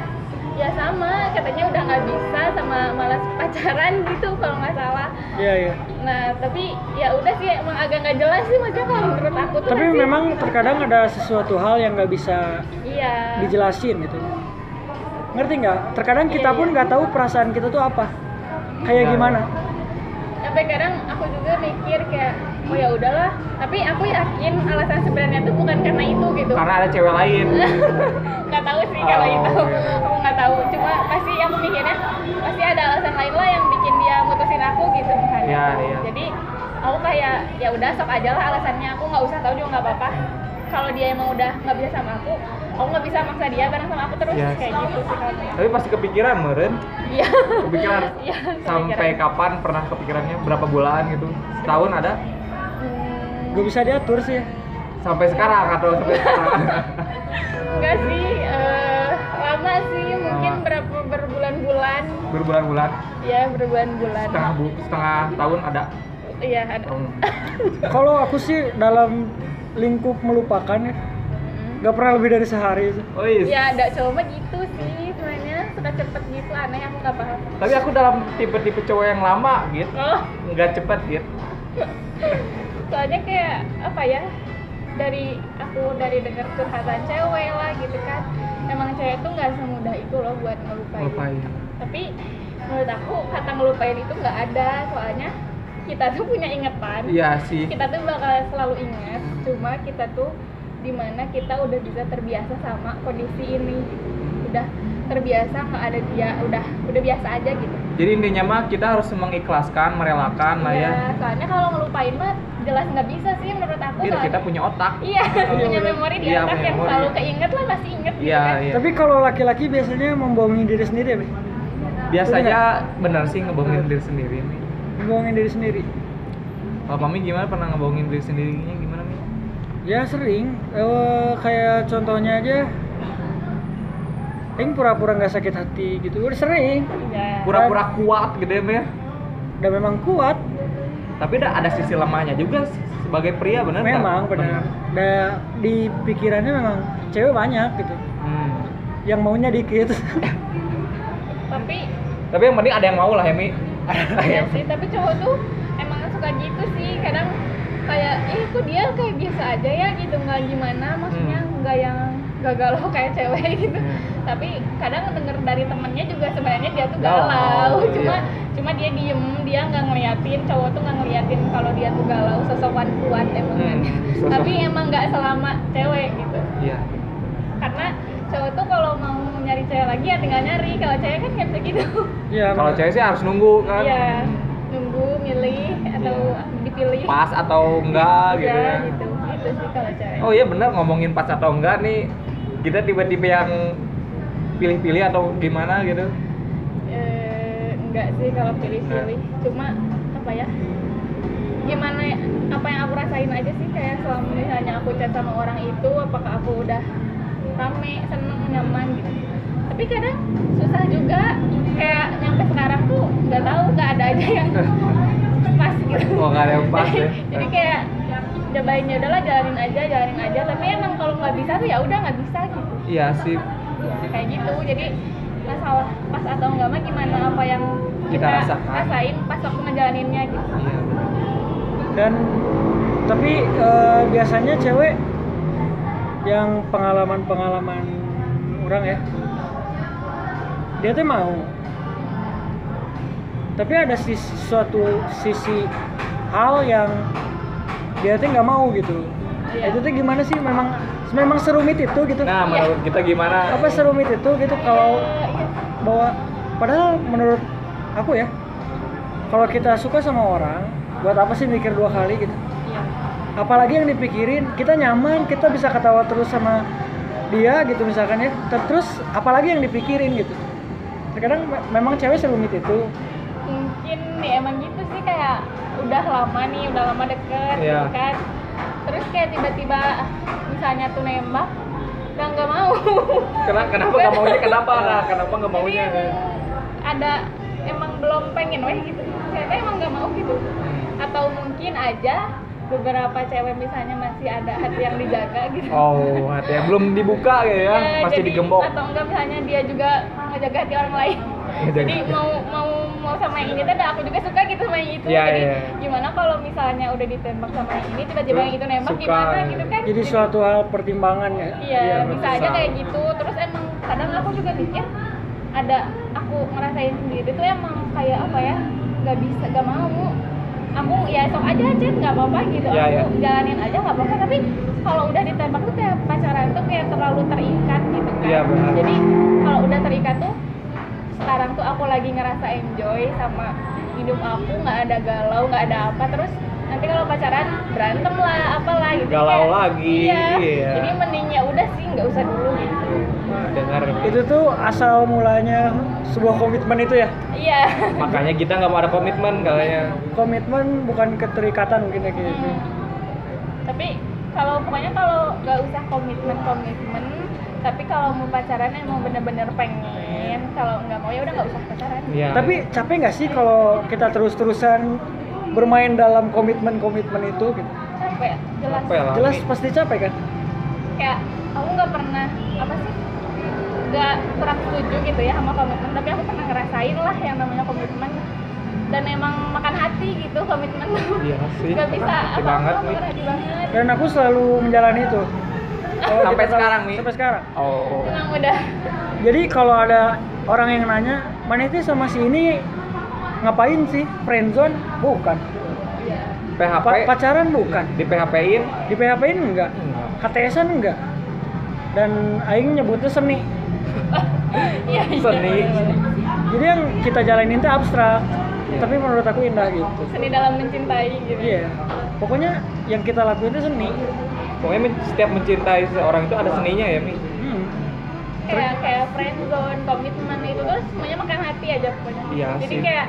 Speaker 3: ya sama katanya udah nggak bisa sama malas pacaran (laughs) gitu kalau nggak salah
Speaker 2: Iya iya.
Speaker 3: nah tapi ya udah sih emang agak nggak jelas sih maksudnya kalau menurut aku tuh
Speaker 2: Tapi
Speaker 3: nanti-
Speaker 2: memang terkadang ada sesuatu hal yang nggak bisa
Speaker 3: iya
Speaker 2: dijelasin gitu. Ngerti nggak? Terkadang kita
Speaker 3: Iya,
Speaker 2: pun
Speaker 3: iya.
Speaker 2: nggak tahu perasaan kita tuh apa.
Speaker 1: Iya.
Speaker 2: Kayak gimana?
Speaker 3: sampai kadang aku juga mikir kayak oh ya udahlah tapi aku yakin alasan sebenarnya tuh bukan karena itu gitu
Speaker 1: Karena ada cewek lain.
Speaker 3: nggak tahu sih kalau
Speaker 1: Oh,
Speaker 3: itu
Speaker 1: iya.
Speaker 3: (laughs) aku nggak tahu cuma pasti aku mikirnya pasti ada alasan lain lah yang bikin dia mutusin aku gitu misalnya
Speaker 1: Iya, iya.
Speaker 3: jadi aku kayak ya udah sok aja lah alasannya aku nggak usah tahu juga nggak apa-apa kalau dia emang udah nggak bisa sama aku aku nggak bisa maksa dia bareng sama aku terus
Speaker 1: Iya
Speaker 3: kayak gitu sih kalau menurut aku.
Speaker 1: Tapi pasti kepikiran meren.
Speaker 3: iya
Speaker 1: Kepikiran
Speaker 3: (laughs) Iya,
Speaker 1: sampai
Speaker 3: kepikiran.
Speaker 1: kapan pernah kepikirannya berapa bulan gitu? Setahun ada?
Speaker 3: Hmm,
Speaker 2: Gak bisa diatur sih.
Speaker 1: Sampai sekarang atau sampai sekarang?
Speaker 3: (laughs) enggak sih eh, lama sih mungkin
Speaker 1: Lama.
Speaker 3: berapa berbulan-bulan
Speaker 1: Berbulan-bulan,
Speaker 3: ya berbulan-bulan
Speaker 1: setengah bu, setengah tahun ada.
Speaker 3: iya ada
Speaker 1: Hmm.
Speaker 2: Kalau aku sih dalam lingkup melupakan ya,
Speaker 3: Hmm.
Speaker 2: nggak pernah lebih dari sehari sih.
Speaker 1: Oh iya.
Speaker 3: ya ada cowok mah gitu sih sebenarnya suka cepet gitu aneh aku nggak paham
Speaker 1: Tapi aku dalam tipe-tipe cowok yang lama gitu,
Speaker 3: oh
Speaker 1: nggak cepet gitu.
Speaker 3: soalnya kayak apa ya dari aku dari dengar curhatan cewek lah gitu kan emang cewek tuh nggak semudah itu loh buat ngelupain
Speaker 1: Lupain.
Speaker 3: tapi menurut aku kata ngelupain itu nggak ada soalnya kita tuh punya ingetan
Speaker 1: Iya sih.
Speaker 3: kita tuh bakal selalu ingat cuma kita tuh dimana kita udah bisa terbiasa sama kondisi ini udah terbiasa nggak ada dia udah udah biasa aja gitu
Speaker 1: Jadi intinya mah kita harus mengikhlaskan, merelakan lah ya.
Speaker 3: Iya, soalnya kalau ngelupain mah jelas nggak bisa sih menurut aku
Speaker 1: Gitu,
Speaker 3: soalnya
Speaker 1: kita punya otak.
Speaker 3: iya punya
Speaker 2: udah.
Speaker 3: memori di
Speaker 1: Iya,
Speaker 3: atas yang
Speaker 1: memori.
Speaker 3: selalu keinget lah masih inget gitu
Speaker 1: Iya,
Speaker 3: kan
Speaker 1: iya.
Speaker 2: Tapi kalau laki-laki biasanya membohongi diri sendiri ya, Be?
Speaker 1: Biasanya bener sih ngebohongin diri sendiri nih.
Speaker 2: Membohongin diri sendiri.
Speaker 1: Kalau Mami gimana pernah ngebohongin diri sendirinya gimana Mi?
Speaker 2: Ya sering. Eh, kayak contohnya aja, Ing pura-pura nggak sakit hati gitu. Udah sering.
Speaker 3: Iya.
Speaker 1: Pura-pura kuat gitu ya Mi.
Speaker 2: Dan memang kuat.
Speaker 1: Tapi ada, ada sisi lemahnya juga se- sebagai pria bener nggak?
Speaker 2: memang benar. Da- di pikirannya memang cewek banyak gitu.
Speaker 1: Hmm.
Speaker 2: Yang maunya dikit. (laughs)
Speaker 1: (laughs)
Speaker 3: tapi
Speaker 1: Tapi yang penting ada yang mau lah ya Mi.
Speaker 3: iya sih tapi cowok tuh emang suka gitu sih kadang kayak eh kok dia kayak biasa aja ya gitu nggak gimana maksudnya
Speaker 1: Hmm.
Speaker 3: nggak yang gagal loh kayak cewek gitu tapi kadang denger dari temennya juga sebenarnya dia tuh
Speaker 1: Galau,
Speaker 3: galau,
Speaker 1: Oh,
Speaker 3: cuma
Speaker 1: iya.
Speaker 3: cuma dia diem dia nggak ngeliatin cowok tuh nggak ngeliatin kalau dia tuh galau sosokan kuat emang kan.
Speaker 1: Hmm, sosok-
Speaker 3: tapi emang nggak selama cewek gitu
Speaker 1: Iya.
Speaker 3: karena cowok tuh kalau mau nyari cewek lagi ya tinggal nyari kalau cewek kan nggak bisa gitu
Speaker 2: ya,
Speaker 1: Kalau
Speaker 2: benar.
Speaker 1: cewek sih harus nunggu kan. Iya.
Speaker 3: ya nunggu milih atau dipilih
Speaker 1: Pas atau enggak gitu
Speaker 3: ya,
Speaker 1: ya.
Speaker 3: gitu gitu sih kalau cewek
Speaker 1: Oh iya benar ngomongin pas atau enggak nih kita tiba-tiba yang pilih-pilih atau gimana gitu.
Speaker 3: Eh, enggak sih kalau pilih-pilih cuma apa ya gimana ya- apa yang aku rasain aja sih kayak selama misalnya aku chat sama orang itu apakah aku udah rame seneng nyaman gitu tapi kadang susah juga kayak nyampe sekarang tuh nggak tahu nggak ada aja yang pas gitu
Speaker 1: Wah nggak ada yang pas ya.
Speaker 3: (laughs) jadi kayak udah baiknya udahlah jalanin aja jalanin aja tapi emang kalau nggak bisa tuh ya udah nggak bisa gitu
Speaker 1: Iya sih
Speaker 3: kayak gitu jadi masalah pas atau enggak mah gimana apa yang
Speaker 1: Kita rasakan.
Speaker 3: rasain pas waktu ngejalaninnya gitu
Speaker 1: Iya.
Speaker 2: dan tapi eh, biasanya cewek yang pengalaman-pengalaman orang ya dia tuh mau tapi ada sisi, suatu sisi hal yang dia tuh nggak mau gitu
Speaker 3: Iya.
Speaker 2: itu tuh gimana sih memang memang serumit itu gitu
Speaker 1: Nah menurut kita gimana?
Speaker 2: apa serumit itu gitu kalau
Speaker 3: Eh, iya.
Speaker 2: bahwa padahal menurut aku ya kalau kita suka sama orang buat apa sih mikir dua kali gitu
Speaker 3: Iya.
Speaker 2: apalagi yang dipikirin kita nyaman kita bisa ketawa terus sama dia gitu misalkan ya Ter- terus apalagi yang dipikirin gitu terkadang me- memang cewek serumit itu
Speaker 3: mungkin ya emang gitu sih kayak udah lama nih udah lama deket
Speaker 1: Iya.
Speaker 3: gitu kan terus kayak tiba-tiba misalnya tuh nembak udah nggak mau (laughs)
Speaker 1: Kenapa kenapa nggak maunya kenapa? Nah, kenapa
Speaker 3: Iya.
Speaker 1: nggak
Speaker 3: jadi
Speaker 1: maunya?
Speaker 3: emang ada emang belum pengen weh gitu ternyata emang nggak mau gitu atau mungkin aja beberapa cewek misalnya masih ada hati yang dijaga gitu
Speaker 1: Oh, hati ya. belum dibuka gitu ya,
Speaker 3: Ya,
Speaker 1: pasti
Speaker 3: jadi-
Speaker 1: digembok.
Speaker 3: atau enggak misalnya dia juga ngejaga hati orang
Speaker 1: (laughs)
Speaker 3: lain
Speaker 1: Ngejaga.
Speaker 3: jadi mau mau mau sama yang ini tuh dah aku juga suka gitu sama yang itu
Speaker 1: Iya,
Speaker 3: jadi
Speaker 1: iya.
Speaker 3: gimana kalau misalnya udah ditembak sama yang ini tiba-tiba yang itu nembak
Speaker 1: Suka. ya.
Speaker 3: gimana gitu kan
Speaker 2: jadi suatu hal pertimbangan ya
Speaker 3: iya
Speaker 1: Iya,
Speaker 3: bisa
Speaker 1: betul.
Speaker 3: aja kayak gitu terus emang kadang aku juga mikir ada aku ngerasain sendiri tuh emang kayak apa ya nggak bisa nggak mau aku ya sok aja aja nggak apa-apa gitu
Speaker 1: Iya,
Speaker 3: aku
Speaker 1: iya.
Speaker 3: jalanin aja nggak apa-apa tapi kalau udah ditembak tuh kayak pacaran tuh kayak terlalu terikat gitu kan
Speaker 1: Iya, benar.
Speaker 3: jadi kalau udah terikat tuh sekarang tuh aku lagi ngerasa enjoy sama hidup aku nggak ada galau nggak ada apa terus nanti kalau pacaran berantem lah apalah gitu
Speaker 1: Galau lagi,
Speaker 3: iya,
Speaker 1: iya.
Speaker 3: jadi mending ya udah sih nggak usah dulu gitu
Speaker 1: Dengar.
Speaker 2: itu tuh asal mulanya sebuah komitmen itu ya
Speaker 3: iya
Speaker 1: (laughs) Makanya kita nggak mau ada komitmen kayaknya.
Speaker 2: komitmen bukan keterikatan mungkin ya kayak gitu
Speaker 3: Hmm. tapi kalau pokoknya kalau nggak usah komitmen komitmen tapi kalau mau pacaran emang bener-bener pengen kalau nggak mau ya udah nggak usah pacaran
Speaker 1: Iya.
Speaker 2: Tapi capek nggak sih kalau kita terus-terusan bermain dalam komitmen-komitmen itu? Gitu?
Speaker 3: capek jelas
Speaker 1: Capek lah.
Speaker 2: Jelas pasti capek kan?
Speaker 3: kayak aku nggak pernah apa sih nggak kurang setuju gitu ya sama komitmen tapi aku pernah ngerasain lah yang namanya komitmen dan emang makan hati gitu komitmen
Speaker 1: Iya sih.
Speaker 3: nggak bisa
Speaker 1: Makan hati
Speaker 3: apa
Speaker 1: banget
Speaker 3: apa
Speaker 1: nih.
Speaker 3: makan hati banget
Speaker 2: dan aku selalu menjalani itu Kalau
Speaker 1: Sampai
Speaker 2: kita tahu-
Speaker 1: sekarang, Mi?
Speaker 2: sampai sekarang
Speaker 1: Oh.
Speaker 3: senang udah (laughs)
Speaker 2: jadi kalau ada orang yang nanya mana itu sama si ini ngapain sih friendzone bukan
Speaker 3: Iya.
Speaker 1: PHP
Speaker 2: Pa- pacaran bukan
Speaker 1: di PHP-in.
Speaker 2: di PHP-in enggak HTS-an enggak dan aing nyebutnya seni
Speaker 3: iya iya,
Speaker 1: Seni.
Speaker 3: bener-bener.
Speaker 2: jadi yang kita jalanin itu abstrak
Speaker 1: Iya.
Speaker 2: tapi menurut aku indah gitu
Speaker 3: seni dalam mencintai gitu
Speaker 2: iya pokoknya yang kita lakuin itu seni
Speaker 1: Pokoknya men- setiap mencintai seorang itu ada seninya ya, Mi.
Speaker 2: Hmm.
Speaker 3: kayak kayak friend zone komitmen itu tuh semuanya makan hati aja pokoknya
Speaker 1: Iya
Speaker 3: jadi
Speaker 1: sih.
Speaker 3: kayak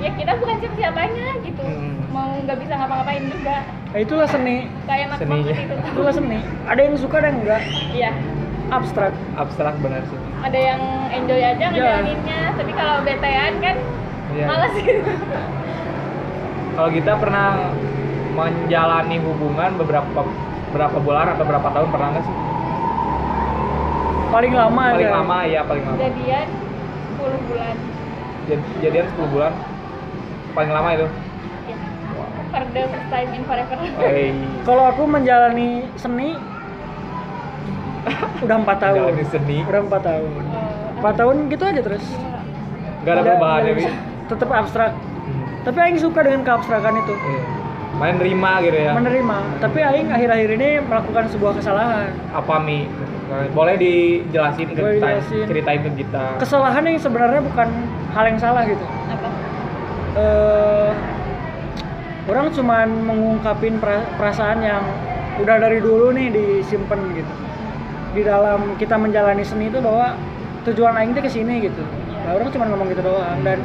Speaker 3: ya kita bukan siapa siapanya gitu
Speaker 1: Hmm.
Speaker 3: mau nggak bisa ngapa-ngapain juga
Speaker 2: Nah, itulah seni
Speaker 3: kayak enak
Speaker 1: Seninya.
Speaker 3: banget itu
Speaker 1: (laughs)
Speaker 3: tuh.
Speaker 2: itulah seni ada yang suka ada yang enggak
Speaker 3: iya
Speaker 2: abstrak
Speaker 1: Abstrak benar sih. Mi.
Speaker 3: ada yang enjoy aja ngejalaninnya tapi kalau betean kan
Speaker 1: Iya. (laughs)
Speaker 3: malas gitu
Speaker 1: Kalau kita pernah menjalani hubungan beberapa berapa bulan atau berapa tahun pernah nggak sih?
Speaker 2: paling lama
Speaker 1: Paling
Speaker 2: ada.
Speaker 1: lama ya paling lama.
Speaker 3: (laughs) jadian 10 bulan
Speaker 1: Jad- Jadian 10 bulan. Paling lama
Speaker 3: (laughs)
Speaker 1: itu.
Speaker 3: ya for the first time in forever
Speaker 1: Hey.
Speaker 2: kalau aku menjalani seni udah empat tahun
Speaker 1: Jalani seni.
Speaker 2: udah empat tahun
Speaker 3: (laughs) Eh,
Speaker 2: empat tahun gitu aja terus
Speaker 1: Gak ada perubahan ya, Mi.
Speaker 2: tetap abstrak tapi aing suka dengan keabstrakan itu
Speaker 1: Iya. Main nerima gitu ya.
Speaker 2: menerima tapi aing akhir-akhir ini melakukan sebuah kesalahan
Speaker 1: Apa Mi? Boleh dijelasin ke
Speaker 2: Boleh
Speaker 1: kita,
Speaker 2: dijelasin.
Speaker 1: ceritain ke kita.
Speaker 2: kesalahan yang sebenarnya bukan hal yang salah gitu
Speaker 3: apa (laughs)
Speaker 2: eh orang cuman mengungkapin pra- perasaan yang udah dari dulu nih disimpan gitu di dalam kita menjalani seni itu bahwa tujuan aing teh kesini gitu nah, orang cuman ngomong gitu doang dan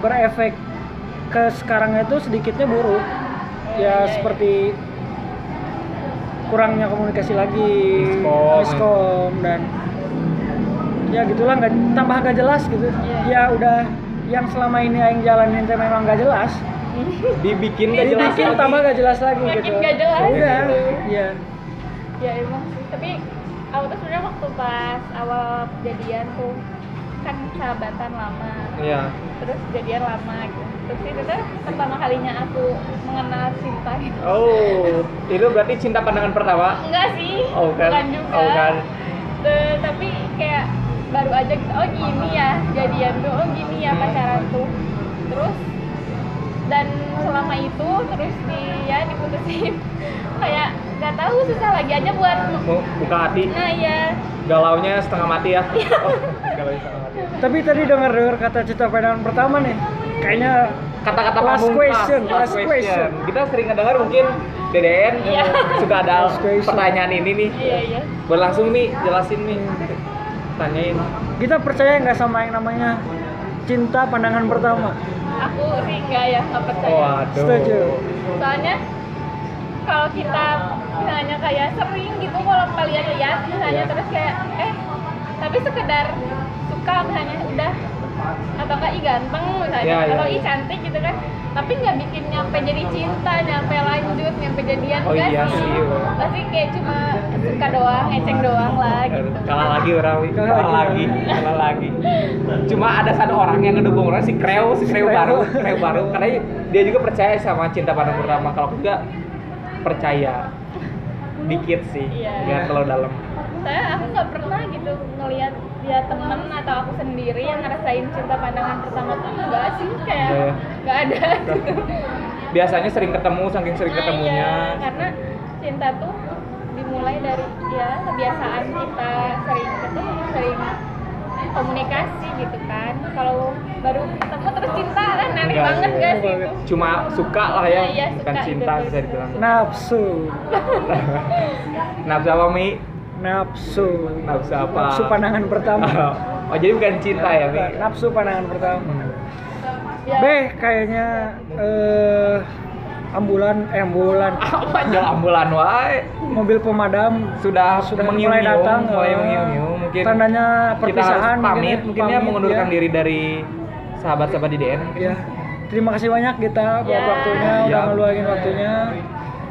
Speaker 2: berefek ke sekarang itu sedikitnya buruk ya
Speaker 3: iya,
Speaker 2: seperti kurangnya komunikasi lagi
Speaker 1: Miskom.
Speaker 2: miskom dan ya gitulah nggak tambah nggak jelas gitu
Speaker 3: Iya.
Speaker 2: ya udah yang selama ini aing jalanin teh memang nggak jelas
Speaker 1: Dibikin gak
Speaker 3: Iya,
Speaker 1: jelas.
Speaker 2: dibikin
Speaker 1: lagi.
Speaker 2: tambah nggak jelas lagi
Speaker 3: Makin
Speaker 2: gitu
Speaker 3: nggak jelas
Speaker 2: udah
Speaker 3: gitu.
Speaker 2: ya
Speaker 3: ya emang sih tapi aku tuh sebenarnya waktu pas awal jadian tuh kan sahabatan lama
Speaker 1: Iya.
Speaker 3: terus jadian lama gitu terus itu tuh pertama kalinya aku mengenal cinta gitu
Speaker 1: Oh, itu berarti cinta pandangan pertama.
Speaker 3: enggak sih
Speaker 1: Oh, bukan.
Speaker 3: bukan juga
Speaker 1: Oh, bukan.
Speaker 3: Te- Gitu, tapi kayak baru aja gitu oh gini ya jadian tuh oh gini ya
Speaker 1: Hmm.
Speaker 3: pacaran tuh terus dan selama itu terus dia diputusin (laughs) kayak nggak tahu susah lagi aja buat
Speaker 1: Mau buka hati,
Speaker 3: nah ya
Speaker 1: galaunya setengah mati ya.
Speaker 3: Iya.
Speaker 1: Oh, galaunya setengah mati.
Speaker 2: tapi tadi dengar dengar kata cita pandangan pertama nih kayaknya
Speaker 1: Kata-kata
Speaker 2: Last
Speaker 1: pamungkas.
Speaker 2: question, last question.
Speaker 1: Kita sering dengar mungkin DDN
Speaker 3: Iya.
Speaker 1: suka ada
Speaker 2: Last question.
Speaker 1: pertanyaan ini nih.
Speaker 3: iya iya
Speaker 1: Berlangsung nih, jelasin nih. Tanyain.
Speaker 3: Iya.
Speaker 2: kita percaya nggak sama yang namanya cinta pandangan pertama
Speaker 3: aku sih enggak ya nggak percaya
Speaker 1: Waduh.
Speaker 2: Setuju.
Speaker 3: soalnya kalau kita misalnya kayak sering gitu kalau kalian lihat misalnya
Speaker 1: Iya.
Speaker 3: terus kayak eh tapi sekedar suka misalnya udah atau enggak ih ganteng misalnya
Speaker 1: Iya, iya,
Speaker 3: atau
Speaker 1: iya.
Speaker 3: ih cantik gitu kan tapi nggak bikin nyampe jadi cinta nyampe lanjut nyampe jadian
Speaker 1: Oh
Speaker 3: enggak
Speaker 1: iya Iya, sih, Bang.
Speaker 3: pasti kayak cuma suka doang ngeceng doang lah gitu
Speaker 1: Kalah lagi orang, Wi.
Speaker 2: Kalah
Speaker 1: kalah lagi,
Speaker 2: lagi.
Speaker 1: kalah lagi. Cuma ada satu orang yang ngedukung orang si Kreo, si Kreo
Speaker 2: Kreo.
Speaker 1: baru, Kreo baru. Karena dia juga percaya sama cinta pandang pertama. Kalau aku juga percaya dikit sih,
Speaker 3: Iya.
Speaker 1: nggak terlalu dalam.
Speaker 3: saya aku nggak pernah gitu ngelihat dia temen atau aku sendiri yang ngerasain cinta pandangan pertama tuh enggak sih kayak
Speaker 1: Iya.
Speaker 3: nggak ada gitu
Speaker 1: Biasanya sering ketemu, saking sering
Speaker 3: Nah,
Speaker 1: ketemunya.
Speaker 3: iya, karena cinta tuh dimulai dari ya kebiasaan kita sering ketemu sering komunikasi gitu kan kalau baru ketemu terus cinta kan aneh
Speaker 1: Enggak,
Speaker 3: banget
Speaker 1: iya.
Speaker 3: gak sih itu
Speaker 1: Cuma suka lah ya,
Speaker 3: Iya,
Speaker 1: bukan
Speaker 3: suka,
Speaker 1: cinta
Speaker 3: betul.
Speaker 1: bisa dibilang.
Speaker 2: nafsu
Speaker 1: Nafsu apa
Speaker 2: (laughs)
Speaker 1: Mi?
Speaker 2: nafsu
Speaker 1: Nafsu apa?
Speaker 2: nafsu pandangan pertama
Speaker 1: (laughs) oh jadi bukan cinta ya Mi?
Speaker 2: nafsu pandangan pertama
Speaker 1: (laughs) Hmm.
Speaker 3: Ya,
Speaker 2: Beh, kayaknya eh ambulan, eh, ambulan,
Speaker 1: Apa jual ambulan wae?
Speaker 2: mobil pemadam
Speaker 1: sudah
Speaker 2: sudah
Speaker 1: mengiung
Speaker 2: mulai datang.
Speaker 1: mulai
Speaker 2: eh,
Speaker 1: mengiung mungkin
Speaker 2: tandanya
Speaker 1: kita harus
Speaker 2: perpisahan
Speaker 1: pamit
Speaker 2: ya,
Speaker 1: mungkin dia
Speaker 2: pamit,
Speaker 1: mengundurkan
Speaker 2: ya. Oh, iya.
Speaker 1: diri dari sahabat-sahabat di DN
Speaker 2: Ya. Terima kasih banyak kita buat
Speaker 3: Ya.
Speaker 2: waktunya, udah
Speaker 1: Ya.
Speaker 2: ngeluangin waktunya.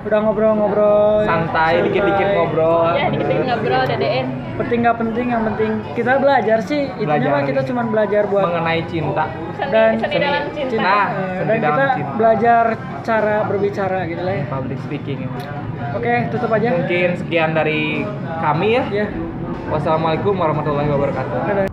Speaker 2: udah ngobrol-ngobrol
Speaker 1: santai dikit-dikit ngobrol
Speaker 3: ya dikit
Speaker 1: bener.
Speaker 3: ngobrol DDN
Speaker 2: penting nggak penting yang penting kita belajar sih intinya
Speaker 1: Belajar.
Speaker 2: mah kita cuma belajar buat
Speaker 1: mengenai cinta
Speaker 3: seni
Speaker 2: Dan
Speaker 3: seni dalam
Speaker 1: seni.
Speaker 3: cinta
Speaker 1: Nah,
Speaker 2: eh,
Speaker 1: seni
Speaker 2: dan
Speaker 1: dalam
Speaker 2: kita
Speaker 1: cinta.
Speaker 2: belajar cara berbicara gitu lah ya
Speaker 1: public speaking ini.
Speaker 2: oke tutup aja
Speaker 1: mungkin sekian dari kami ya
Speaker 2: ya
Speaker 1: wassalamualaikum warahmatullahi wabarakatuh
Speaker 2: dadah